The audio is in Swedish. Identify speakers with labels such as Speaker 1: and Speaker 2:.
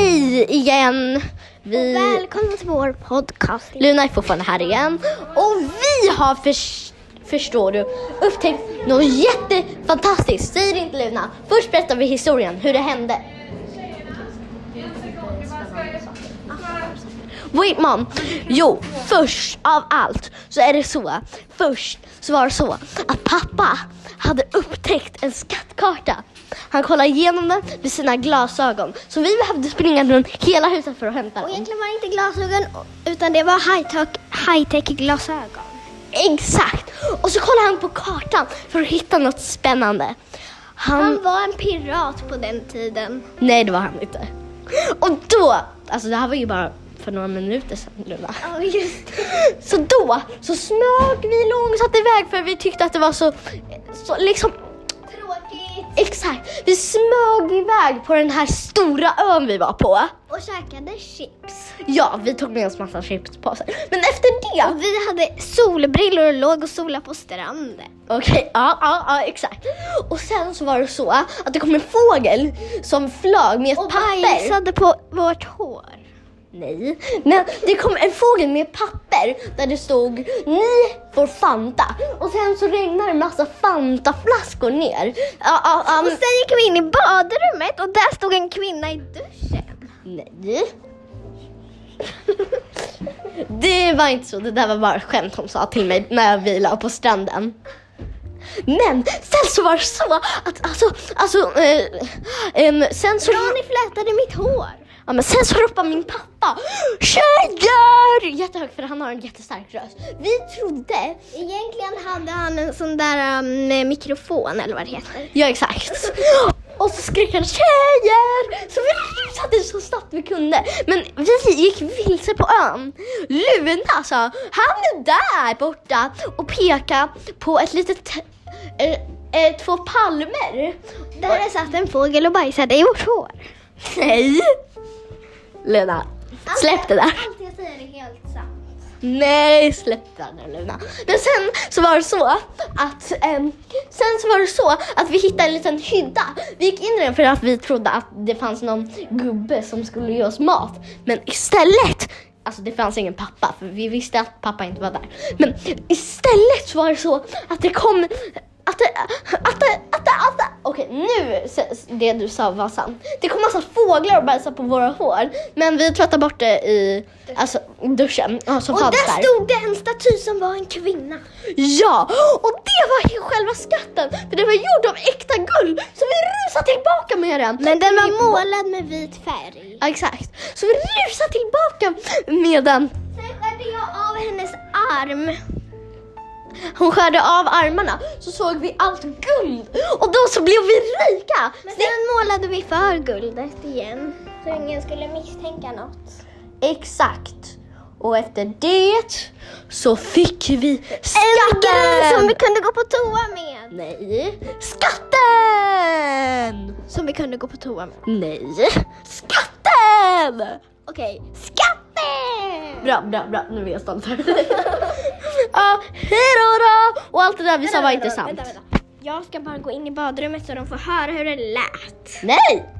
Speaker 1: vi igen. Vi...
Speaker 2: Och välkomna till vår podcast.
Speaker 1: Luna är fortfarande här igen. Och vi har, förs- förstår du, upptäckt något jättefantastiskt. Säg det inte Luna. Först berättar vi historien, hur det hände. Wait mom. Jo, först av allt så är det så. Först så var det så att pappa hade upptäckt en skattkarta. Han kollade igenom den med sina glasögon. Så vi behövde springa runt hela huset för att hämta
Speaker 2: Och
Speaker 1: den.
Speaker 2: egentligen var det inte glasögon utan det var high-tech glasögon.
Speaker 1: Exakt! Och så kollade han på kartan för att hitta något spännande. Han...
Speaker 2: Han var en pirat på den tiden.
Speaker 1: Nej, det var han inte. Och då, alltså det här var ju bara för några minuter sedan Luna.
Speaker 2: Ja, just det.
Speaker 1: Så då så smög vi långsamt iväg för vi tyckte att det var så, så liksom
Speaker 2: Tråkigt.
Speaker 1: exakt. Vi smög iväg på den här stora ön vi var på.
Speaker 2: Och käkade chips.
Speaker 1: Ja, vi tog med oss massa chipspåsar. Men efter det
Speaker 2: Och vi hade solbrillor och låg och solade på stranden.
Speaker 1: Okej, ja, ja, ja, exakt. Och sen så var det så att det kom en fågel som flög med ett
Speaker 2: Och
Speaker 1: papper.
Speaker 2: bajsade på vårt hår.
Speaker 1: Nej, men det kom en fågel med ett papper där det stod ni får Fanta. Och sen så regnade en massa Fanta-flaskor ner. Ja, ja, ja,
Speaker 2: Och
Speaker 1: men-
Speaker 2: sen gick vi in i badrummet och där stod en kvinna i duschen.
Speaker 1: Nej. Det var inte så, det där var bara ett skämt hon sa till mig när vi la på stranden. Men sen så var det så att alltså, alltså, eh, em, sen så...
Speaker 2: Ronny flätade mitt hår.
Speaker 1: Ja, men sen så ropar min pappa Tjejer! Jättehögt för han har en jättestark röst. Vi trodde,
Speaker 2: Egentligen hade han en sån där um, mikrofon eller vad det heter.
Speaker 1: ja exakt. Och så skrek han tjejer! Så vi rusade så snabbt vi kunde. Men vi gick vilse på ön. Luna sa han är där borta och pekade på ett litet, eh, eh, två palmer.
Speaker 2: Där satt en fågel och bajsade i vårt hår.
Speaker 1: Nej! Luna, släpp det där.
Speaker 2: Allt jag säger är helt sant.
Speaker 1: Nej, släpp den nu Luna. Men sen så var det så att ehm, sen så var det så att vi hittade en liten hydda. Vi gick in i den för att vi trodde att det fanns någon gubbe som skulle ge oss mat. Men istället, alltså det fanns ingen pappa för vi visste att pappa inte var där. Men istället så var det så att det kom att det, att det, att det, att det. Okej, nu s- det du sa var sant. Det kom massa fåglar och bajsade på våra hår. Men vi tvättade bort det i alltså, duschen. Ja, som
Speaker 2: Och
Speaker 1: fanns
Speaker 2: där stod det en staty som var en kvinna.
Speaker 1: Ja, och det var ju själva skatten. För den var gjord av äkta guld. Så vi rusade tillbaka med den.
Speaker 2: Men den var
Speaker 1: Vi-
Speaker 2: Typ målad med vit färg.
Speaker 1: Ja, exakt. Så vi rusade tillbaka med den.
Speaker 2: Sen skärde jag av hennes arm.
Speaker 1: Hon skärde av armarna så såg vi allt guld. Och då så blev vi rika.
Speaker 2: Men
Speaker 1: Det-
Speaker 2: sen målade vi för guldet igen. Så ingen skulle misstänka något.
Speaker 1: Exakt. Och efter det så fick vi
Speaker 2: En grej som
Speaker 1: skatten.
Speaker 2: vi kunde gå på toa med.
Speaker 1: Nej. Skatten!
Speaker 2: Som vi kunde gå på toa med.
Speaker 1: Nej. Skatten!
Speaker 2: Okej, skatten!
Speaker 1: Bra, bra, bra. Nu är jag stolt över dig. Ja, hejdå då! Och allt det där vi sa var inte sant.
Speaker 2: Jag ska bara gå in i badrummet så de får höra hur det lät.
Speaker 1: Nej!